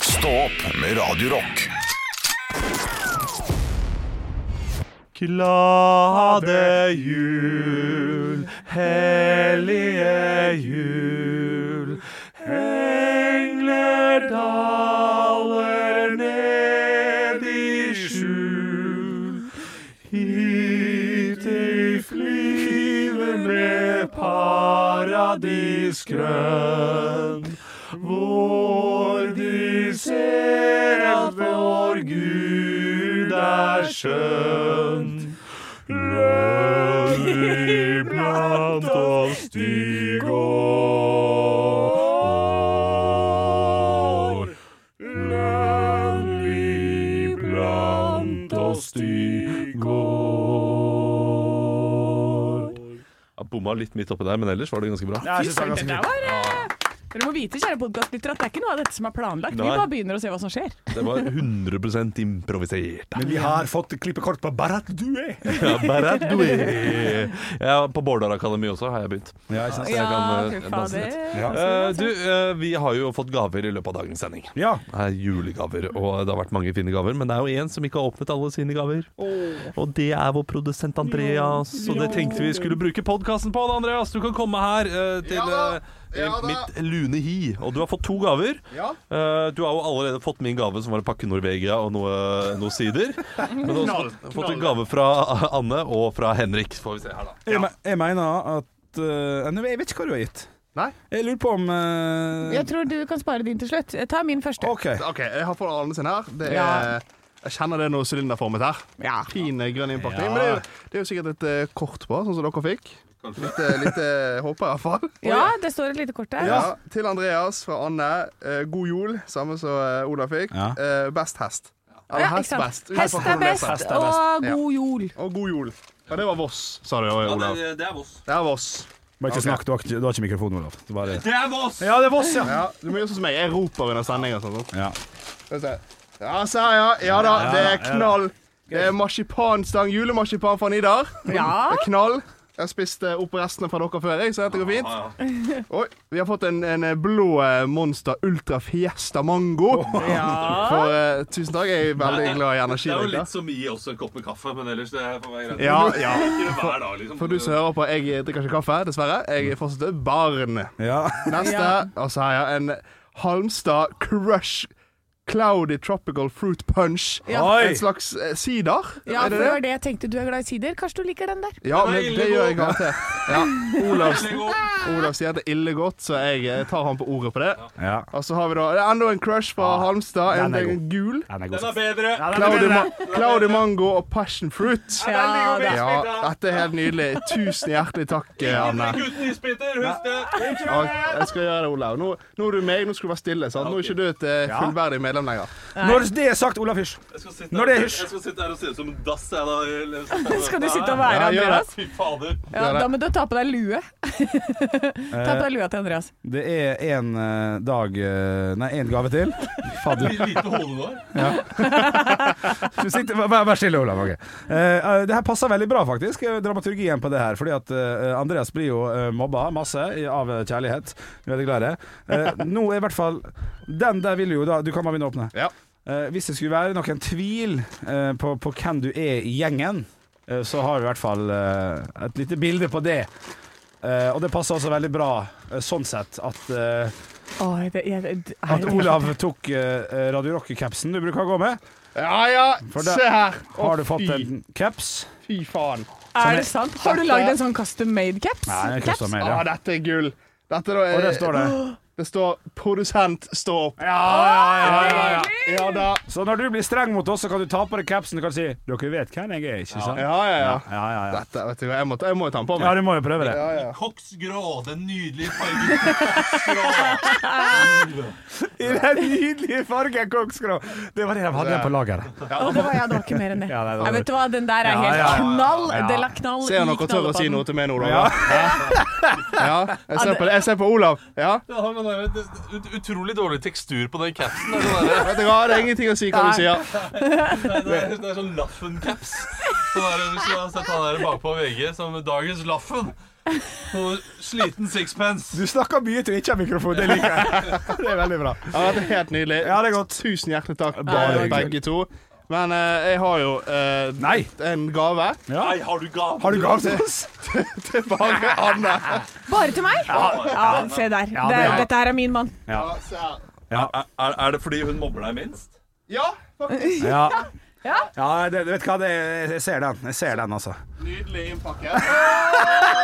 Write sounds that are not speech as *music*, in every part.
Stå opp med Radio Rock. Glade jul, hellige jul. Engler daler ned i skjul. Hit de flyver med paradisgrønn. Hvor de ser at vår Gud er skjønn. Løv iblant oss stig år. Løv iblant oss stig år. Jeg bomma litt midt oppi der, men ellers var det ganske bra. Jeg Fy synes det er søren, ganske dette fint. var eh, Dere må vite, kjære podkastlyttere, at det er ikke noe av dette som er planlagt. Nei. Altså, Vi bare begynner å se hva som skjer. Det var 100 improvisert. Men vi har fått klippekort på Barat Due. Ja, Berat Dui. *laughs* ja, på Bårdar Akademi også har jeg begynt. Ja, ikke sant? jeg kan, eh, fy danse fader. litt. Ja. Eh, du, eh, vi har jo fått gaver i løpet av dagens sending. Ja. Det er julegaver, og det har vært mange fine gaver. Men det er jo én som ikke har åpnet alle sine gaver. Og det er vår produsent Andreas, og det tenkte vi skulle bruke podkasten på. da, Andreas, du kan komme her eh, til Ja da, eh, ja da. mitt lune hi. Og du har fått to gaver. Ja. Eh, du har jo allerede fått min gave, som var en pakke Norvegia og noe, noe sider. Men du har også fått, fått en gave fra Anne og fra Henrik. Får vi se her, da. Jeg, me- jeg mener at eh, nei, Jeg vet ikke hva du har gitt. Nei? Jeg lurer på om eh, Jeg tror du kan spare din til slutt. Eh, Ta min første. OK. OK, jeg har fått Arne sin her. Det er, Ja. Jeg kjenner det er noe sylinderformet her. Ja. Fin eh, grønn innpakning. Ja. Men det er, jo, det er jo sikkert et eh, kort på, sånn som dere fikk. Litt, eh, litt eh, håper jeg iallfall. ja, det står et lite kort der. *laughs* Ja. Til Andreas fra Anne. eh, god jul, samme som eh, Ola fikk. Ja. Eh, best hest. Eller Ja, ikke hest sant? best. Hest Utenfor er best, Nordneset. og Ja. god jul. Og god jul. Ja, det var Voss, sa du, Olav. er Voss. Det er Voss. Bare ikke Ok. snakk, du har ikke, du har ikke mikrofon, Olav. Det var det. Det er Voss! Ja, det er Voss, ja. Ja, du må gjøre sånn som meg. Jeg roper under sending og sånn. ja. Skal vi se. Ja, se her, ja. Ja da, Ja, det ja, er ja. knall. Det er marsipanstang, julemarsipan fra Nidar. Ja. *laughs* Det er knall. Jeg spiste opp restene fra dere før, jeg, så dette går fint. Oi, vi har fått en, en blå eh, Monster Ultra Fiesta Mango. Ja. For eh, tusen takk. Jeg er veldig glad i energidrikk. da. som å gi oss en kopp med kaffe, men ellers det får være greit. Ja, ja. Hver dag, liksom. For du som hører på, jeg drikker ikke kaffe, dessverre. Mm. Jeg er fortsatt et barn. ja. Neste, Ja. og så har jeg en Halmstad Crush Cloudy Tropical Fruit Punch. Ja. Oi! En slags eh, sider? Ja, er for det det det? var det jeg tenkte. Du er glad i sider. Kanskje du liker den der. Ja, Den er men ille det gjør jeg god. garantert. Ja. Olav, Olav sier at det er ille godt, så jeg eh, tar han på ordet på det. Ja. Og så har vi da det er enda en crush fra Halmstad. En, Ah, den er en gul. Den er god. bedre. Ja, den er Cloudy, bedre. ma cloudy mango og passion fruit. Ja, da. Ja, dette er helt nydelig. Tusen hjertelig takk, eh, Anne. Gutten i splitter, husk det! Og jeg skal gjøre det, Olav. Nå, nå er du meg, nå skal du være stille. sant? Nå er ikke du et eh, Ja. fullverdig medlem lenger. *laughs* Når det er sagt, Olav Hysj. Jeg skal sitte Når det er hysj. jeg skal sitte her og se ut som en dass, jeg da. *laughs* Skal du sitte og være være Ja, gjør Andreas? Fy fader. Ja, Gjør det. da må du ta på deg lue. *laughs* Ta på deg lua til Andreas. Det er en eh, dag eh, Nei, en gave til. Fader. Lite hode du har. Du sitter, vær- vær, vær stille, Olav. ok. Eh, eh, det her passer veldig bra, faktisk, eh, dramaturgien på det her. Fordi at eh, Andreas blir jo eh, mobba masse i- av eh, kjærlighet. Vi er Veldig glad i det. Eh, nå er i hvert fall Den der vil jo da Du kan bare begynne å åpne. Ja. Eh, hvis det skulle være noen tvil eh, på, på hvem du er i gjengen, eh, så har vi i hvert fall eh, et lite bilde på det. Eh, og det passer også veldig bra eh, sånn sett at, eh, Oi, det, jeg, det, er at det- Olav tok eh, Radio Rock-capsen du bruker å gå med. Ja ja, For det- se her. Å, Har du fått fy, en caps? Fy faen. Er det sant? Har du lagd en sånn custom made caps? Nei, den koster Caps? mer, Ja, ja. dette er gull. Dette da er, Og der står Ah, *gasps* det. det står 'produsent, stå opp'. Ja, ja, ja, ja. Ja da. Så når du blir streng mot oss, så kan du ta på deg capsen og kan si 'Dere vet hvem jeg er', ikke sant? Ja, ja, ja. ja, ja. ja. Dette, vet du hva, jeg må, ta- jeg må jo ta den på ja meg. du må jo prøve det. Ja, ja. Koksgrå, den nydelige fargen. Koksgrå. I den nydelige fargen koksgrå. Det var det de hadde igjen på lageret. Å, det var jeg, det var ikke mer *laughs* enn det. Ja, nei, det var- Nei, vet du hva, den der er Ja, helt ja, ja, ja. knall. Ja. Det la knall Ser dere tør å si knallepadden. noe til meg nå, Ja. Olav? Ja, jeg ser på, det. jeg ser på Olav. Ja. Det har den der, ut, utrolig dårlig tekstur på den capsen. Det er, sånn Vet du hva, det er ingenting å si hva du sier. der- det er, det er sånn Laffen-caps. Sånn er det hvis du har sett han der bakpå VG som dagens Laffen. Og sliten sixpence. Du snakker mye til du ikke har mikrofon, det liker *laughs* jeg. Det er veldig bra. Ja, det er helt nydelig. Ja, det er godt. Tusen hjertelig takk, eh, Bare hyggelig. begge to. Men eh, jeg har jo eh, Nei. en gave *laughs* Nei, har du gave? Har du gave til oss? til bare Anne. Bare til meg? Ja, se der. det, det er- Dette her er min mann. Ja, se her. Er, er, er det fordi hun mobber deg minst? Ja, faktisk. Ja. Ja. Ja, det, vet du hva, det, jeg ser den. Jeg ser den, altså. Nydelig innpakket.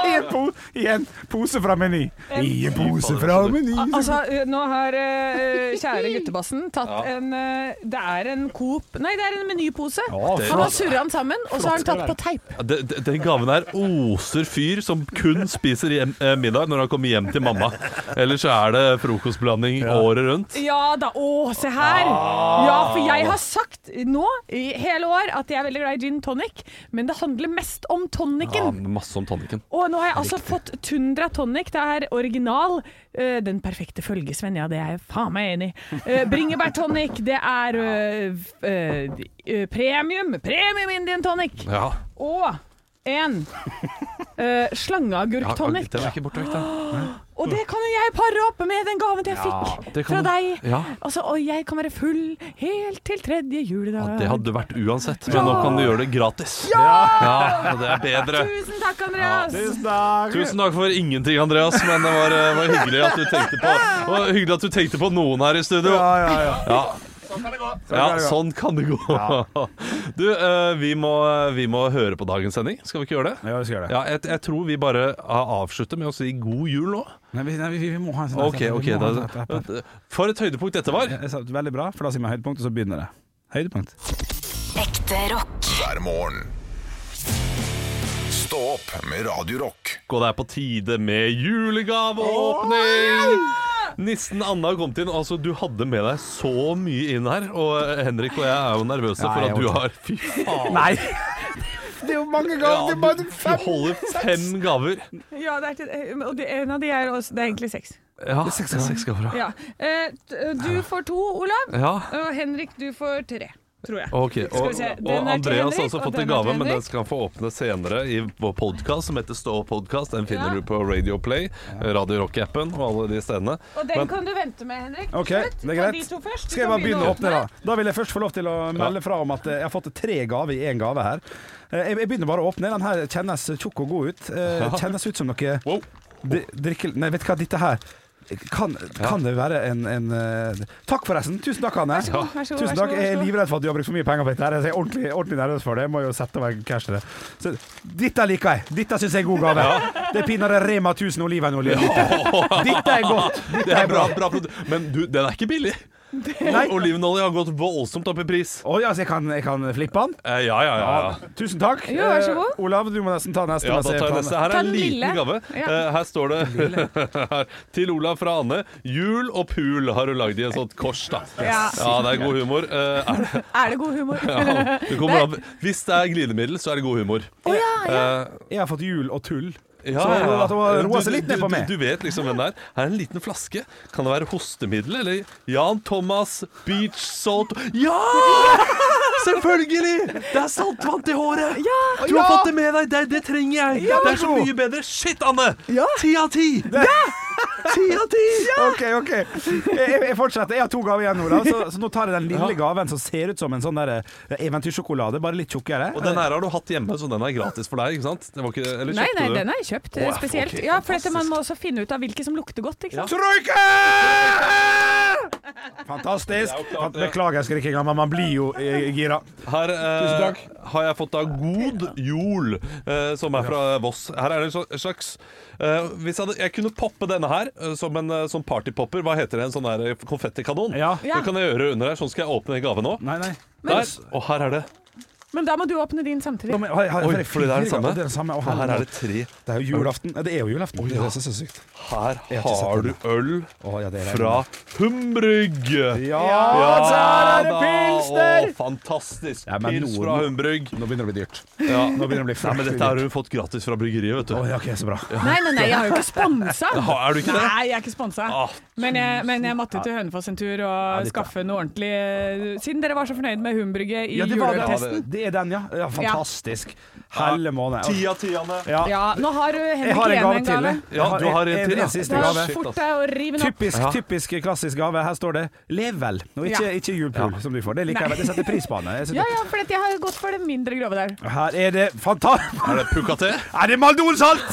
I en, po i en pose fra Meny. I en pose fra Meny. Altså, eh, nå har eh, kjære *laughs* guttebassen tatt en eh, Det er en Coop Nei, det er en menypose. Han har surra den sammen, og så har han tatt på teip. Ja, de- de- Den gaven her oser fyr som kun spiser hjem, eh, middag når han kommer hjem til mamma. Ellers så er det frokostblanding året rundt. Ja da. Å, se her! Ja, for jeg har sagt nå i hele år at jeg er veldig glad i gin tonic, men det handler mest om Ja, tonicen. masse om tonikken. Og nå har jeg altså fått Tundra tonic. Det er original. eh, Den perfekte følgesvenn, ja, det er jeg faen meg enig i. Eh, Bringebær tonic, det er eh, f- eh, eh, premium. Premium Indian tonic. Ja. Og en uh, Ja, slangeagurktonic. den er ikke borte vekk, den. Og det kan jo jeg pare opp med den gaven jeg fikk det fra kan du- deg. Ja. Altså, og jeg kan være full helt til tredje juledag. Ja, det hadde vært uansett, men nå kan du gjøre det gratis. Ja, og det er bedre. Tusen takk, Andreas! Tusen takk. Tusen takk for ingenting, Andreas, men det var, eh, var hyggelig at du tenkte på det var Hyggelig at du tenkte på noen her i studio. Ja, ja, ja. Ja, Sånn kan det gå. ja det gå. sånn kan det gå. Du, eh, vi må, vi må høre på dagens sending. Skal vi ikke gjøre det? Ja, vi skal gjøre det. Ja, jeg, jeg tror vi bare eh, avslutter med å si god jul nå. Nei, vi, nei, vi, vi må ha en sånn Ok, vi må ok. ha en sånn- Da, for et høydepunkt dette var. Jeg sa veldig bra, for da sier vi høydepunkt, og så begynner det. Høydepunkt. Ekte rock. hver morgen. Stå opp med Radio Rock. Og det er på tide med julegaveåpning! Nissen Anna har kommet inn. Altså, Du hadde med deg så mye inn her. Og eh, Henrik og jeg er jo nervøse Nei, for jeg at du orker. har Fy faen! Nei! Det er jo mange ganger, det er du, bare du fem. holder fem gaver. Ja, det er, til- eh, og det, en av de er også Det er egentlig seks. Ja, det er seks gaver. ja. Ja. Eh, t- du får to, Olav. Ja, Og Henrik, du får tre. Tror jeg. ok. Skal Og, vi se, den og er til Andreas har Henrik, også og fått den en er til gave, men den Henrik. skal han få åpne senere i vår podkast som heter Stå opp podkast. Den finner Ja. du på Radio Play, Radio Rock-appen og alle de stedene. Og den Men- kan du vente med, Henrik. Ok, Slutt. det er Ta greit. De to først. Du Skal jeg kan bare begynne å åpne, da? Da vil jeg først få lov til å melde fra om at eh, jeg har fått tre gaver i én gave her. Eh, Jeg jeg begynner bare å åpne. Den her kjennes tjukk og god ut. Eh, Kjennes ut som noe Wow. dri- drikke... Nei, vet du hva, dette her kan, kan det være en, en eh, Takk, forresten. Tusen takk, Anne. så god, vær så god, Tusen vær så takk. god, Jeg vær er så god. livredd for at du har brukt for mye penger på dette. her. Jeg er ordentlig, ordentlig nervøs for det. Jeg må jo sette meg cash til det. Så dette liker jeg. Dette syns jeg er god gave. Det er pinadø Rema 1000 *laughs* olivenolje. Dette, dette er godt. Det er bra, bra produkt. Men du, den er ikke billig. Nei. Olivenolje har gått voldsomt opp i pris. Å ja, så jeg kan, jeg kan flippe den? Eh, Ja, ja, ja. ja. Ja. Tusen takk. Jo, vær så god. Eh, Olav, du må nesten ta neste. Ja, mens da tar jeg tar neste. Her Ta er en den lille. liten gave. Ja. Eh, Her står det *laughs* her, til Olav fra Anne. Jul og pul har hun lagd i et sånt kors, da. Ja. Ja, det er god humor. Eh, Er *laughs* det, Er det god *laughs* humor? Å ja. ja, det kommer av, hvis det er glidemiddel, så er det god humor. ja, Eh, den. Jeg har fått jul og tull. Ja, Så ja, ja. at hun har roet seg Du- litt du- ned på du- meg. Du vet liksom hvem det er. Her er en liten flaske. Kan det være hostemiddel eller Jan Thomas Beach Salt Ja! Selvfølgelig! Det er saltvann til håret! Du har fått det med deg! Det, det trenger jeg! det er så mye bedre. Shit, Anne! Ti av ti! Ti av ti! OK, OK. Jeg, jeg fortsetter. Jeg har to gaver igjen, Olav. Så, så nå tar jeg den lille gaven som ser ut som en sånn der eh, eventyrsjokolade, bare litt tjukkere. Og den her har du hatt hjemme, så den er gratis for deg, ikke sant? Den var ikke, eller Nei, kjøpte nei, du? den er kjøpt eh, Å, ja, spesielt. ok, ja, for dette, Man må også finne ut av hvilke som lukter godt. ikke sant? Troika! Fantastisk. klart det. Beklager skrikinga, men man blir jo eh, gira. Her Tusen eh, takk. har jeg fått da God jul, eh, som er fra Voss. Her er det en sl- en slags eh, Hvis jeg, hadde, jeg kunne poppe denne her eh, som en eh, sånn partypopper, hva heter det, en sånn der konfettikanon? Ja. Ja. Det kan jeg gjøre under her. Sånn skal jeg åpne en gave nå. Nei, nei. Der, og her er det. Men da må du åpne din samtidig. Da må jeg- har- har- Oi, har jeg fordi det er det fire gaver? samme. Det er, det samme. Å, Og her er herregud. det tre. det er jo julaften. Ja, Det er jo julaften. Det er det som er så sykt. Her Jeg har ikke har du sett øl Å, ja, det er- fra Humbrygg. Ja, der er det da. pils Å, der! fantastisk. Ja, men Pils nå- fra Humbrygg. Nå begynner det å bli dyrt. Ja. Nå begynner det å bli Nei, men dette har hun fått gratis fra bryggeriet, vet du. Å, ja, ok, så bra. Nei, nei, nei, jeg har jo ikke sponsa. *laughs* Er du ikke det? Nei, jeg er ikke sponsa. Ah. Men, jeg- men jeg måtte til Hønefoss en tur og litt, ja. skaffe noe ordentlig eh, Siden dere var så fornøyd med Humbrygget i Ja, det var det. juleøltesten. Det det er den, ja. ja fantastisk. Helle måned. Ti av ti, Anne. Ja. Ja, nå har uh, Jeg Henrik har en igjen gave en til. gave. jeg. Ja, du har en til, ja. En siste Det er gave. Da Shit, fort deg å rive den opp. Typisk, Ja. typisk klassisk gave. Her står det 'lev vel', og ikke, Ja. ikke julpul, som du får. Det liker jeg. Nei. veldig. Jeg setter pris på den. Jeg Ja, setter- ja, for at jeg har gått for det mindre grove der. Her er det fantastisk Er det Pukaté? Er det Maldonsalt?!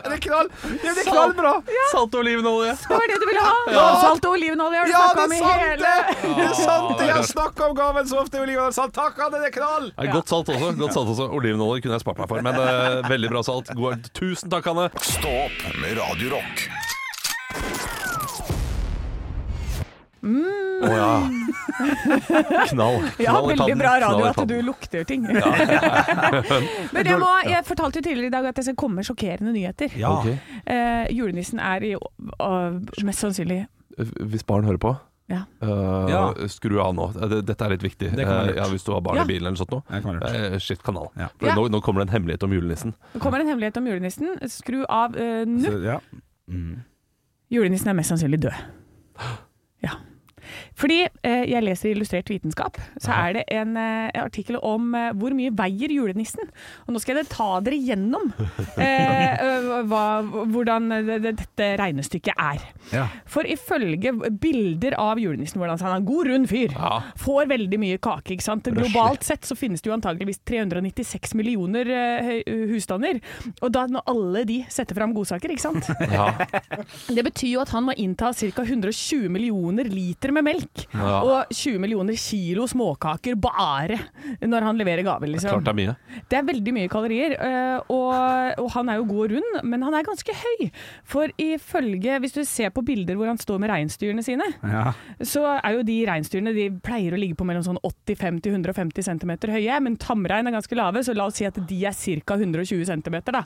Er det knall? Det er knallbra! Salt og olivenolje. Det var det du ville ha! Salt og olivenolje har du Ja, snakket det om er i sant hele det! Det er sant det! Ja, det er Jeg har klart. snakka om gaven så ofte, Oliver. Salt, takk, Anne, det er knall! Ja. Godt salt også. godt salt også Olivenolje kunne jeg spart meg for, men eh, veldig bra salt. God, tusen takk, Anne. Stå opp med Radio Rock. Å ja. Knall. Ja, knall i veldig pannen, bra knall radio i at du pannen. lukter ting. *laughs* Men jeg, må, jeg fortalte jo tidligere i dag at det skal komme sjokkerende nyheter. Ja. Ok. Eh, julenissen er i, og- mest sannsynlig Hvis barn hører på ja. eh, Ja. Skru av nå. Eh, det- Dette er litt viktig. Det kan være Eh, ja, lurt. hvis du har barn Ja. i bilen eller sånt nå. Det kan være Eh, Skift kanal. Ja. For Ja. Nå, nå kommer det en hemmelighet om julenissen. Det kommer en hemmelighet om julenissen. Skru av eh, nå. Så, ja. Julenissen er mest sannsynlig død. Ja. Fordi eh, jeg leser i Illustrert vitenskap, så er det en eh, artikkel om eh, hvor mye veier julenissen. Og nå skal jeg ta dere gjennom eh, eh, hva, hvordan det, det, dette regnestykket er. Ja. For ifølge bilder av julenissen, hvordan han er en god, rund fyr, Ja. får veldig mye kake. ikke sant? Globalt sett så finnes det jo antageligvis 396 millioner eh, husstander. Og da når alle de setter fram godsaker, ikke sant? Ja. Det betyr jo at han må innta ca. 120 millioner liter med melk. Ja. Og 20 millioner kilo småkaker bare når han leverer gaver, *laughs* liksom. Klart det er mye. Det er veldig mye kalorier, øh, og, og han er jo god og rund, men han er ganske høy. For ifølge, hvis du ser på bilder hvor han står med reinsdyrene sine, Ja. så er jo de reinsdyrene de pleier å ligge på mellom sånn 85 til 150 cm høye, men tamrein er ganske lave, så la oss si at de er ca. 120 cm, da.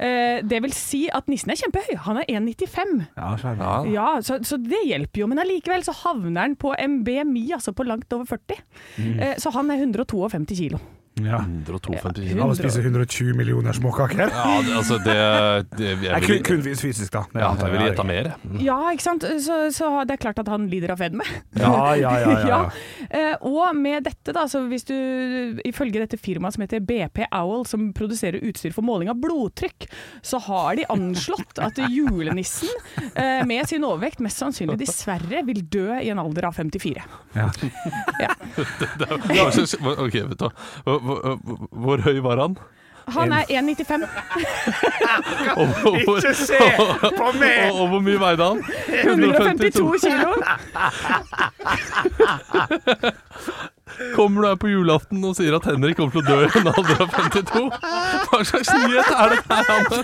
Eh, Det vil si at nissen er kjempehøy, han er 1,95. Ja, skjønner. Ja. Ja, så, så det hjelper jo, men allikevel så havner han på en BMI, altså på langt over 40. Mm. Eh, så han er 152 kilo. ja. 152 Ja, kilo. Alle spiser 120 millioner småkaker. Ja, det, altså det, det jeg Nei, vil- kun, kun fysisk, da. Ja, jeg ville gjetta mer. jeg. Ja, ikke sant? Så, så det er klart at han lider av fedme. Ja, ja, ja. ja, *laughs* ja. Eh, og med dette, da, så hvis du ifølge dette firmaet som heter BP Owl, som produserer utstyr for måling av blodtrykk, så har de anslått at julenissen eh, med sin overvekt mest sannsynlig dessverre vil dø i en alder av 54. Ja. *laughs* Ja, så- så- Ok, vet du hva. Hvor, hvor- hvor høy var han? Han er 1,95. Og, og, hvor- Ikke se på *laughs* og, meg! og hvor mye veide han? 152 kilo. Kommer du her på julaften og sier at Henrik kommer til å dø i en alder av 52? Hva slags nyhet er det her, Anne?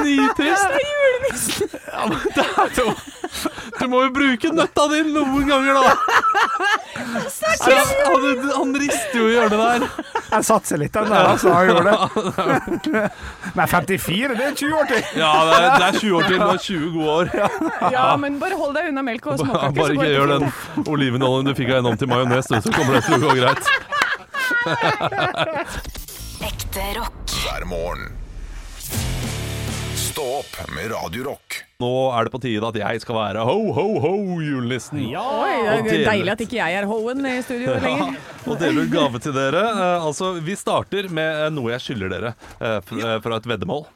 Nitrist. Det er julenissen! Ja, men det er jo Du må jo bruke nøtta di noen ganger, da. Så, han, han rister jo i hjørnet der. Jeg satser litt den der, altså. Jeg gjorde det. *laughs* Men 54, det er 20 år til! Ja, det er, det er 20 år til. Nå er 20 gode år. Ja, men bare hold deg unna melk *laughs* og Bare småkaker. så går ikke det gjør fint. den olivenoljen du fikk av henne om til majones, du, så kommer det til å gå greit. Ekte rock. Hver morgen. Stå opp med Radio Rock. Nå er det på tide at jeg skal være ho, ho, ho, julenissen. Oi, det Og er dele- deilig at ikke jeg er hoen i studio lenger. og dele ut gave til dere. Eh, altså, vi starter med eh, noe jeg skylder dere eh, f- eh, fra et veddemål.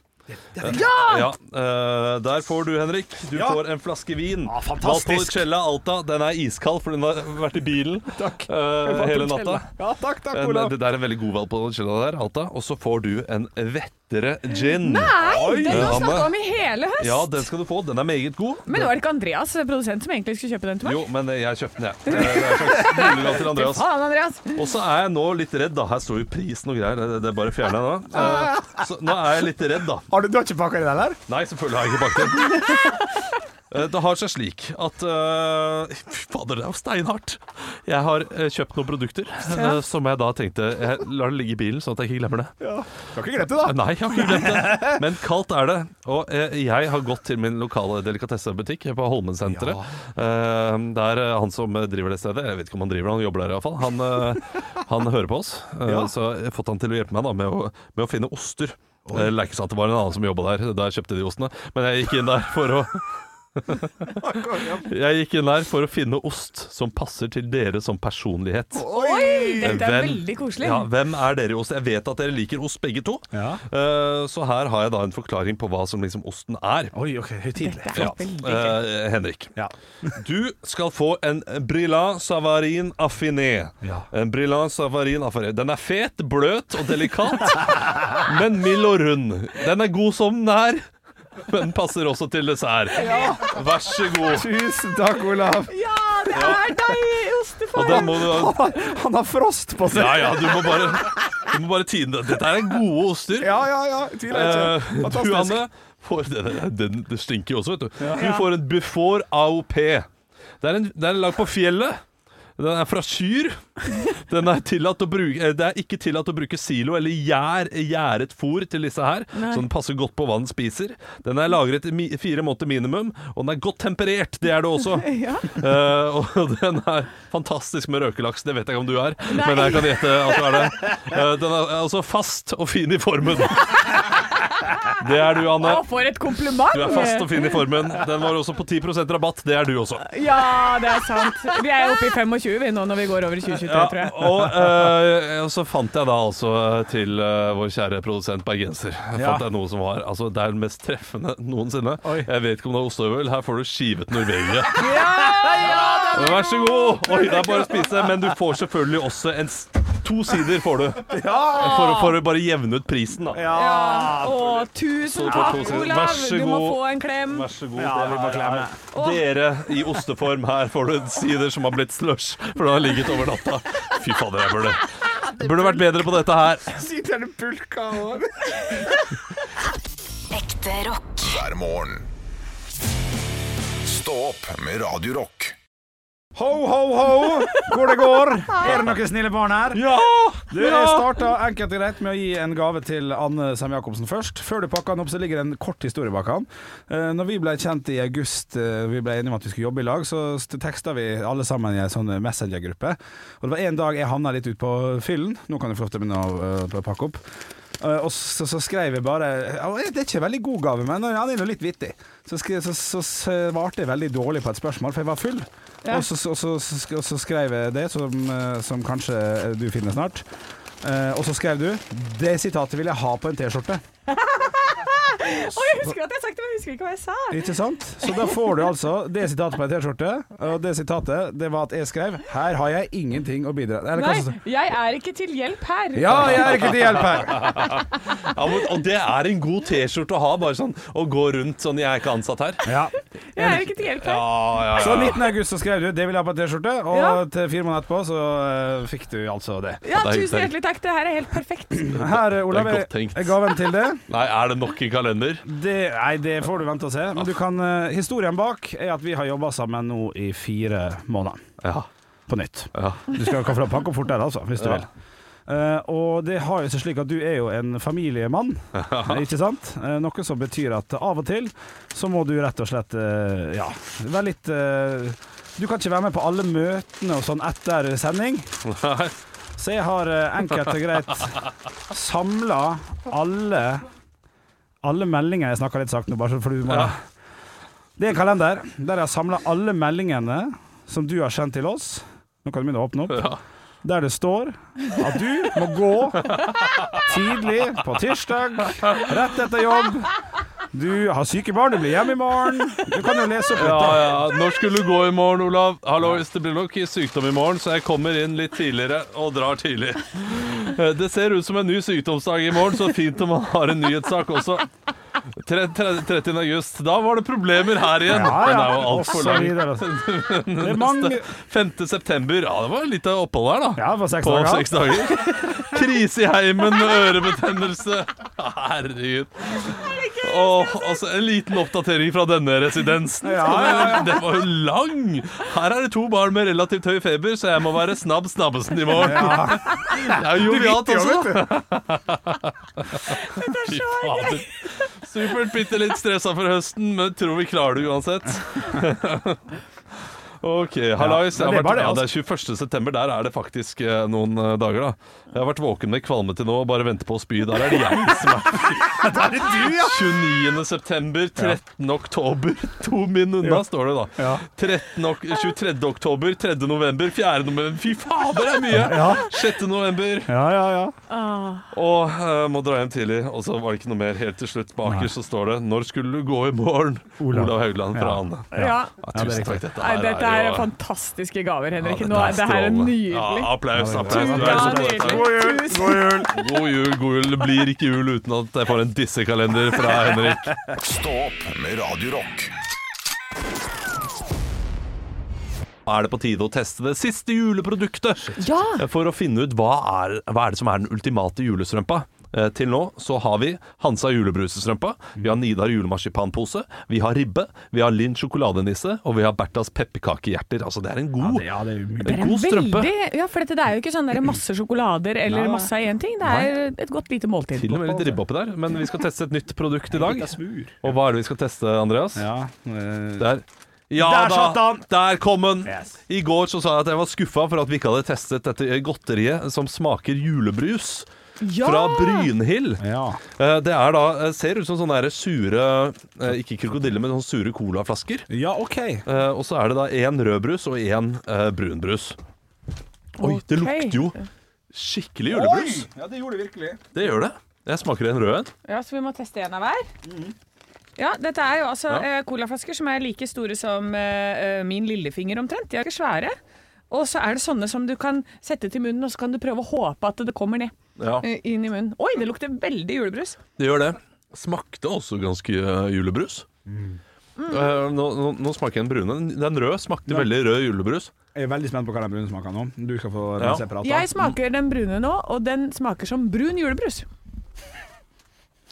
Ja! eh, der får du, Henrik. Du får en flaske vin. Ah, fantastisk. Valpolicella Alta. Den er iskald, for den har vært i bilen Takk. eh, hele natta. Ja, takk, takk, En, Olav. det er en veldig god Valpolicella der, Alta. Og så får du en Vettere gin. Nei, den har Oi, vi snakka Anne. om i hele høst! Ja, den skal du få. Den er meget god. Men det var det ikke Andreas, produsent, som egentlig skulle kjøpe den til meg? Jo, men eh, jeg kjøpte den, jeg. Det er en slags julegave til Andreas. Faen, Andreas! Og så er jeg nå litt redd, da. Her står jo prisen og greier. Det, det er bare fjerna nå. Eh, så nå er jeg litt redd, da. Har du, du har ikke pakka den, eller? Nei, selvfølgelig har jeg ikke bakt den. *laughs* Eh, Det har seg slik at eh, Fy fader, det er jo steinhardt. Jeg har eh, kjøpt noen produkter eh, som jeg da tenkte Jeg lar det ligge i bilen, sånn at jeg ikke glemmer det. Du har ikke glemt det, da? *laughs* Nei, jeg har ikke glemt det. Men kaldt er det. Og eh, jeg har gått til min lokale delikatessebutikk på Holmensenteret. Eh, det er eh, han som driver det stedet. Jeg vet ikke om han driver det, han jobber der iallfall. Han, eh, han hører på oss. Eh, Så jeg har fått han til å hjelpe meg da, med, å, med å finne oster. Jeg leker seg at det var en annen som jobba der da jeg kjøpte de ostene. Men jeg gikk inn der for å Jeg gikk inn der for å finne ost som passer til dere som personlighet. Oi! Dette er Hvem- veldig koselig. Eh, Ja, hvem er dere i ost? Jeg vet at dere liker ost begge to. Ja. Eh, så her har jeg da en forklaring på hva som liksom osten er. Oi, ok, høytidelig. Dette er veldig gøy. Eh, Henrik, Ja. *laughs* du skal få en Brillant Savarin Affiné. Ja. En Brillant Savarin Affiné. Den er fet, bløt og delikat, *laughs* men mild og rund. Den er god som den er, men passer også til dessert. Vær så god. Tusen takk, Olav. Ja, det er deg, Og ostefar! da må du Han har, *laughs* han har frost på seg. Ja ja, du må bare, du må bare tine det. Dette er gode oster. Ja, ja, ja. Tviler Eh, ikke. du, Fantastisk. Anne, får, det, det, det stinker jo også, vet du. Du får en Bufor AOP. Det er en, det er en lag på fjellet. Den er fra kyr. Den er tillatt å bruke, eh, det er ikke tillatt å bruke silo eller gjær, gjæret fôr til disse her, så den passer godt på hva den spiser. Den er lagret i mi, fire måneder minimum, og den er godt temperert. Det er det også. Ja. Eh, og *laughs* den er fantastisk med røkelaks, det vet jeg ikke om du er, men jeg kan gjette at du er det. Eh, den er altså fast og fin i formen. Det er du, Anne. Å, for et kompliment! Du er fast og fin i formen. Den var også på 10 rabatt. Det er du også. Ja, det er sant. Vi er oppe i 25 vi nå når vi går over i 2023, Ja, tror jeg. *laughs* og eh, og så fant jeg da altså til eh, vår kjære produsent bergenser Jeg Ja. fant jeg noe som var altså, Det er den mest treffende noensinne. Oi. Jeg vet ikke om det er ostehøvel. Her får du skivet *laughs* Norvegia. Ja! Vær så god! Oi, det er bare å spise, men du får selvfølgelig også en s- to sider får du. For, å- for å bare jevne ut prisen, da. Ja. Å, tusen Så takk, Ah, for to- Vær Olav! så Du må god. få en klem. Vær så god. Ja, vi må klemme. Dere i osteform, her får du en sider som har blitt slush, for den har ligget over natta. Fy fader, jeg *laughs* burde Burde vært bedre på dette her. Sitter det pulka over? Ekte rock. hver morgen. Stå opp med Radio Rock. Ho, ho, ho, hvor det går. Er det noen snille barn her? Ja! Du, jeg starta enkelt og greit med å gi en gave til Anne Sem-Jacobsen først. Før du pakker den opp, så ligger det en kort historie bak han. Eh, Når vi ble kjent i august, eh, vi ble enige om at vi skulle jobbe i lag, så st- teksta vi alle sammen i en sånn messengergruppe. Og det var en dag jeg havna litt ut på fyllen. Nå kan du få lov til å begynne å eh, pakke opp. Eh, Og så, så skrev jeg bare «Ja, Det er ikke en veldig god gave, men eh, han er nå litt vittig. Så, skrev, så, så svarte jeg veldig dårlig på et spørsmål, for jeg var full. Ja. Og så, så, så, så, så skrev jeg det, som, eh, som kanskje du finner snart. Eh, og så skrev du 'Det sitatet vil jeg ha på en T-skjorte'. Å, jeg husker at jeg har sagt det, men jeg husker ikke hva jeg sa. Ikke sant? Så da får du altså det sitatet på en T-skjorte. Og det sitatet det var at jeg skrev 'Her har jeg ingenting å bidra Eller hva som- Nei, jeg er ikke til hjelp her. Ja, jeg er ikke til hjelp her! Ja, men, og det er en god T-skjorte å ha, bare sånn å gå rundt sånn 'jeg er ikke ansatt her'. Ja. Jeg er ikke til hjelp her. Ja, ja, Så 19. august så skrev du 'Det vil jeg ha på en T-skjorte', og Ja. til fire måneder etterpå så eh, fikk du altså det. Ja, Det er tusen hyggelig. hjertelig takk. Det her er helt perfekt. Her, Olav, Det er er godt tenkt. er gaven til det. Nei, er det nok i kalender? det. Nei, det får du vente og se. Men du kan, eh, historien bak er at vi har jobba sammen nå i fire måneder. Ja. På nytt. ja. Du skal kan få lov til å pakke opp fortere, altså, hvis du Ja. vil. Eh, og det har jo seg slik at du er jo en familiemann, eh, ikke sant? Eh, noe som betyr at av og til så må du rett og slett eh, ja, være litt eh, Du kan ikke være med på alle møtene og sånn etter sending. Nei. Så jeg har eh, enkelt og greit samla alle Alle meldinger Jeg snakker litt sakte nå, bare så- for du må Ja. Det er en kalender der jeg har samla alle meldingene som du har sendt til oss. Nå kan du begynne å åpne opp. Ja. Der det står at du må gå tidlig på tirsdag, rett etter jobb. Du har syke barn, du blir hjemme i morgen. Du kan jo lese opp litt. Ja, da. ja. Når skulle du gå i morgen, Olav? Hallois, det blir nok sykdom i morgen, så jeg kommer inn litt tidligere og drar tidlig. Eh, Det ser ut som en ny sykdomsdag i morgen, så fint om man har en nyhetssak også. Tre- tre- 30. august. Da var det problemer her igjen. Ja, Den er jo ja, og altfor så lang. videre. Det er mange 5. september. Ja, det var litt av opphold her, da. Ja, det var seks På dager. seks dager. *laughs* Krise i heimen, ørebetennelse. Herregud. Og altså, en liten oppdatering fra denne residensen. Ja, ja, *laughs* Den var jo lang! Her er det to barn med relativt høy feber, så jeg må være snabb snabbesen i morgen. Det er jo jovialt altså. også. Fy fader. Supert, bitte litt stressa for høsten, men tror vi klarer det uansett. Ok, hallais. Ja, Jeg men det er har bare vært- det, altså. ja, det er 21. september. Der er det faktisk eh, noen eh, dager, da. Jeg har vært våken med kvalme til nå og bare venter på å spy. Der er det jeg som er *laughs* Der er du, ja! 29. september, 13. oktober. To min unna, Ja. står det da. Ja. 13. Ok 23. oktober, 3. november, 4. november Fy fader, det er mye! Ja. 6. november. Ja, ja, ja. Ah, Og eh, må dra hjem tidlig. Og så var det ikke noe mer helt til slutt. Bakerst så står det 'Når skulle du gå i morgen?' Olav. Olav, Haugland fra Ja. Ane. ja. Ja, Ja, det er tusen riktig. takk. Dette Nei, her dette er jo- fantastiske gaver, Ja, Henrik. dette Nå er, det her er strålende. nydelig. Ja, applaus, applaus. Tusen Du er så takk. bra, takk. God jul, god jul! God jul, god jul. Det blir ikke jul uten at jeg får en dissekalender fra Henrik. Stå opp med Radio Rock. Er det på tide å teste det siste juleproduktet? Ja! For å finne ut hva er, hva er det som er den ultimate julestrømpa. Eh, Til nå så har vi Hansa julebrusestrømpa, vi har Nidar julemarsipanpose, vi har ribbe, vi har Linn sjokoladenisse, og vi har Berthas pepperkakehjerter. Altså, det er en god Ja, det er umulig. Det er en god strømpe. veldig- Ja, for dette det er jo ikke sånn der masse sjokolader eller Nei. masse av én ting. Det er et godt lite måltid. Til og med litt ribbe oppi der. Men vi skal teste et nytt produkt i dag. Og hva er det vi skal teste, Andreas? Ja, eh, Der. Ja Der da! satt han! Der kom han! Yes. I går så sa jeg at jeg var skuffa for at vi ikke hadde testet dette godteriet som smaker julebrus. Ja! Fra Brynhild. ja. Eh, Det er da, eh, ser ut som sånne der sure eh, Ikke krokodiller, men sånne sure colaflasker. ja, OK. Eh, Og så er det da én rødbrus og én eh, brunbrus. Oi, det Ok. lukter jo skikkelig julebrus! Ja, det gjorde det virkelig. Det gjør det. Jeg smaker en rød en. Ja, så vi må teste en av hver. Ja, dette er jo altså Mm-hmm. Ja. eh, colaflasker som er like store som eh, eh, min lillefinger omtrent. De er ikke svære. Og så er det sånne som du kan sette til munnen, og så kan du prøve å håpe at det kommer ned. Ja, eh, Inn i munnen. Oi, det lukter veldig julebrus. det gjør det. Smakte også ganske eh, julebrus. Eh, nå, nå, nå smaker jeg den brune. Den- Den røde smakte veldig rød julebrus. Jeg er veldig spent på hva den brune smaker nå. Du skal få Ja. den separat. da. Jeg smaker den brune nå, og den smaker som brun julebrus.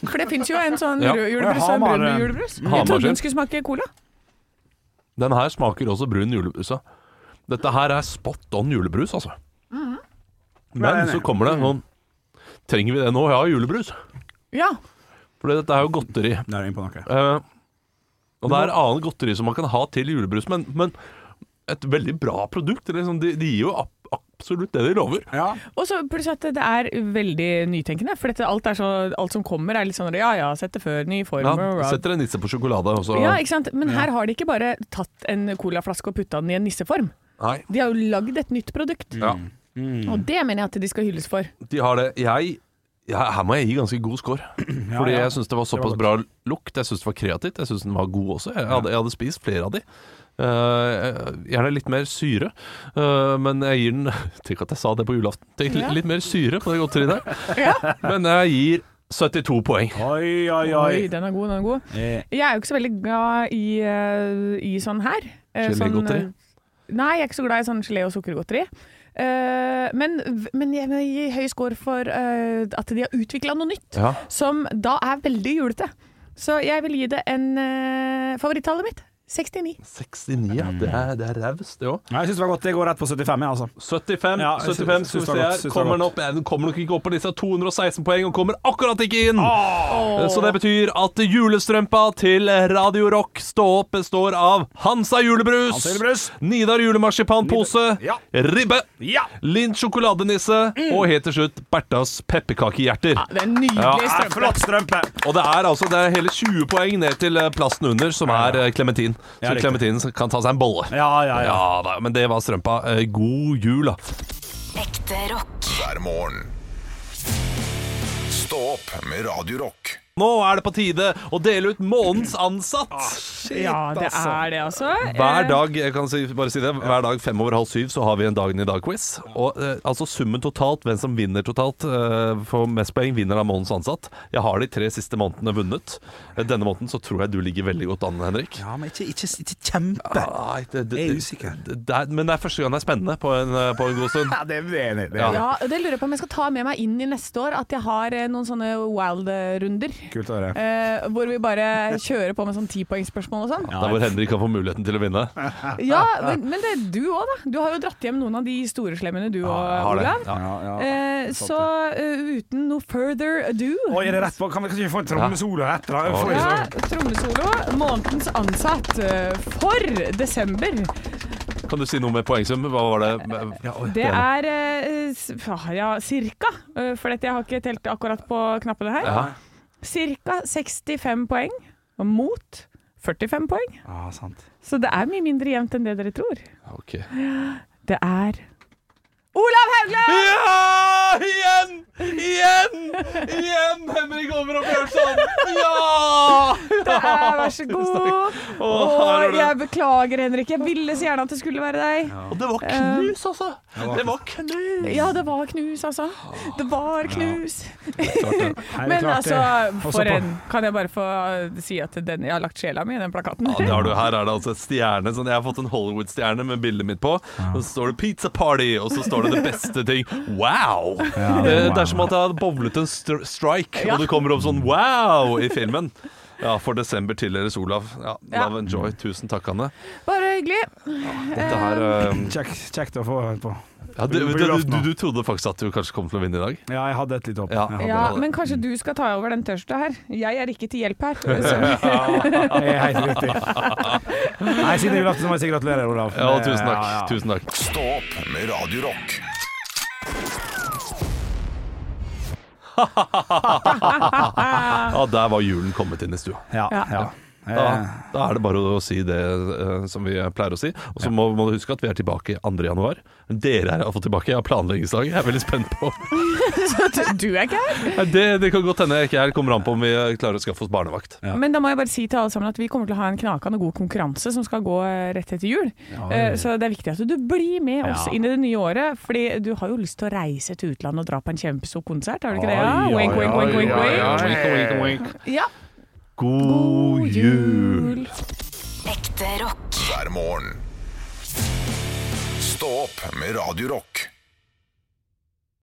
For det fins jo en sånn Ja. rød julebrus og en Hamar, brun eh, julebrus. Hamar Jeg trodde sin. den skulle smake cola. Den her smaker også brun julebrus. ja. Dette her er spot on julebrus, altså. Mm-hmm. Jeg er Men enig. Mm-hmm. så kommer det noen Trenger vi det nå? Jeg har julebrus. Ja. For dette er jo godteri. Der er jeg inne på noe. Eh, og det er annet godteri som man kan ha til julebrus, men, men et veldig bra produkt. eller Liksom, de, de gir jo ab- absolutt det de lover. Ja. Og så pluss at det er veldig nytenkende, for dette, alt, er så, alt som kommer er litt sånn ja ja, sett det før, ny form Ja, og rad. setter en nisse på sjokolade, og så Ja, ikke sant? Men her har de ikke bare tatt en colaflaske og putta den i en nisseform. Nei. De har jo lagd et nytt produkt, Ja, og det mener jeg at de skal hylles for. de har det. Jeg, jeg, her må jeg gi ganske god score. Fordi ja. jeg syns det var såpass bra lukt. Jeg syns det var kreativt. Jeg syns den var god også. Jeg hadde, jeg hadde spist flere av de. Eh, gjerne litt mer syre, eh, men jeg gir den *laughs* Tenk at jeg sa det på julaften. Tenk, Ja. litt, litt mer syre på det godteriet der. Men jeg gir 72 poeng. Oi, oi, oi. Oi, den er god, den er god. Eh, Jeg er jo ikke så veldig glad i, eh, i sånn her. Eh, Gelégodteri? eh, Nei, jeg er ikke så glad i sånn gelé- og sukkergodteri. Eh, men, men jeg må gi høy score for eh, at de har utvikla noe nytt. Ja. som da er veldig julete. Så jeg vil gi det en uh, Favorittallet mitt 69. 69, ja. Det er, det er raust, det òg. Nei, jeg syns det var godt. Det går rett på 75, jeg, altså. 75, Ja, jeg 75 skal syns- vi se syns det var godt, her. syns det var Kommer den godt. opp? Nei, Den kommer nok ikke opp på disse 216 poeng, og kommer akkurat ikke inn! Så det betyr at julestrømpa til Radio Rock Stå opp består av Hansa julebrus, Hansa julebrus. Nidar julemarsipanpose, Nidar- ribbe, Ja! Mm. Lind sjokoladenisse og helt til slutt Berthas pepperkakehjerter. Det er en nydelig Ja, strømpe. flott strømpe! Og det er altså det er hele 20 poeng ned til eh, plassen under, som er eh, Clementin. Ja, Så riktig. Clementin kan ta seg en bolle. Ja, ja, ja. Ja da, men det var strømpa. Eh, God jul, da. Ekte rock. hver morgen. Stå opp med Radio Rock. Nå er det på tide å dele ut månedens ansatt. Ah, Ja, det er det, altså. Hver Eh, dag jeg kan si, bare si det, hver dag fem over halv syv så har vi en Dagen i dag-quiz. Og eh, altså summen totalt, hvem som vinner totalt, eh, får mest poeng, vinner av månedens ansatt. Jeg har de tre siste månedene vunnet. Eh, Denne måneden så tror jeg du ligger veldig godt an, Henrik. Ja, men ikke, ikke, ikke kjempe. Nei, det, det, Ah, Jeg er usikker. Det, det er, men det er første gang det er spennende på en, eh, på en god stund. Ja, det er jeg enig i. Ja. Ja, og det lurer jeg på om jeg skal ta med meg inn i neste år at jeg har eh, noen sånne wild-runder. Kult å høre. Eh, hvor vi bare kjører på med sånn tipoengsspørsmål og sånn. Der hvor Henrik kan få muligheten til å vinne. Ja, men, men det er du òg, da. Du har jo dratt hjem noen av de store slemmene du og jeg har det. Olav. Ja. Ja, ja. Eh, så eh, uten noe further ado Oi, er det rett på? Kan vi kan vi ikke få en trommesolo etter? da? Får vi Ja, så- trommesolo. Månedens ansatt eh, for desember. Kan Kan du si noe med poengsum? Hva var det? Ja, oi, Det er eh, s- ah, ja, cirka, eh, for dette jeg har ikke telt akkurat på knappene her. ja. Cirka 65 poeng mot 45 poeng. Ah, sant. Så det er mye mindre jevnt enn det dere tror. Ok. Det er Olav *laughs* Haugland! Ja! Igjen! Igjen! Igjen! Henrik Over og Bjørnson! Ja! Det er, vær så god. her er Å, det. jeg beklager, Henrik. Jeg ville så gjerne at det skulle være deg. Og det var knus, altså! Det var knus! Ja, det var knus, altså. Det var knus. Nei, det er Men klart altså, det. Også for på- en Kan jeg bare få eh, si at den, jeg har lagt sjela mi i den plakaten? Ja, det har du. Her er det altså et stjerne. Sånn, jeg har fått en Hollywood-stjerne med bildet mitt på. Og så står det 'Pizza Party', og så står det det beste ting. Wow! Ja, det det, er Eh, det wow. er som at jeg hadde bowlet en str strike, Ja. og det kommer opp sånn 'wow' i filmen. Ja, for desember tildeles Olav. Ja, Ja. Love and joy. Tusen takk, Anne. Bare hyggelig. Dette her eh, Kjekk, kjekt å få den på. ja, du, På du, julaften, du, da. du trodde faktisk at du kanskje kom til å vinne i dag. Ja, jeg hadde et litt håp. Ja. Jeg hadde Ja, det. men kanskje du skal ta over den tørsta her. Jeg er ikke til hjelp her. Så, *laughs* Det er *laughs* helt riktig. Nei, siden julaften så må jeg si gratulerer, Olav. Eh, Ja, tusen takk. Ja, ja. Tusen takk. Stå opp med Radio Rock. Ja, der var julen kommet inn i stua. Ja, Ja. ja. Da, Eh, da er det bare å si det eh, som vi pleier å si. Og så må, må du huske at vi er tilbake 2. januar. Dere er iallfall tilbake. Jeg har planleggingsdag. Jeg er veldig spent *laughs* på du er ikke her. Nei, det, det kan godt hende jeg ikke er. Kommer an på om vi eh, klarer å skaffe oss barnevakt. Ja. Men da må jeg bare si til alle sammen at vi kommer til å ha en knakende god konkurranse som skal gå eh, rett etter jul. Eh, Så det er viktig at du blir med oss Ja. inn i det nye året. Fordi du har jo lyst til å reise til utlandet og dra på en kjempestor konsert, har du ikke det? Ja, Oi, oi, wink, wink, wink, wink, wink. Ja. God jul! Ekte rock. hver morgen. Stå opp med Radio Rock.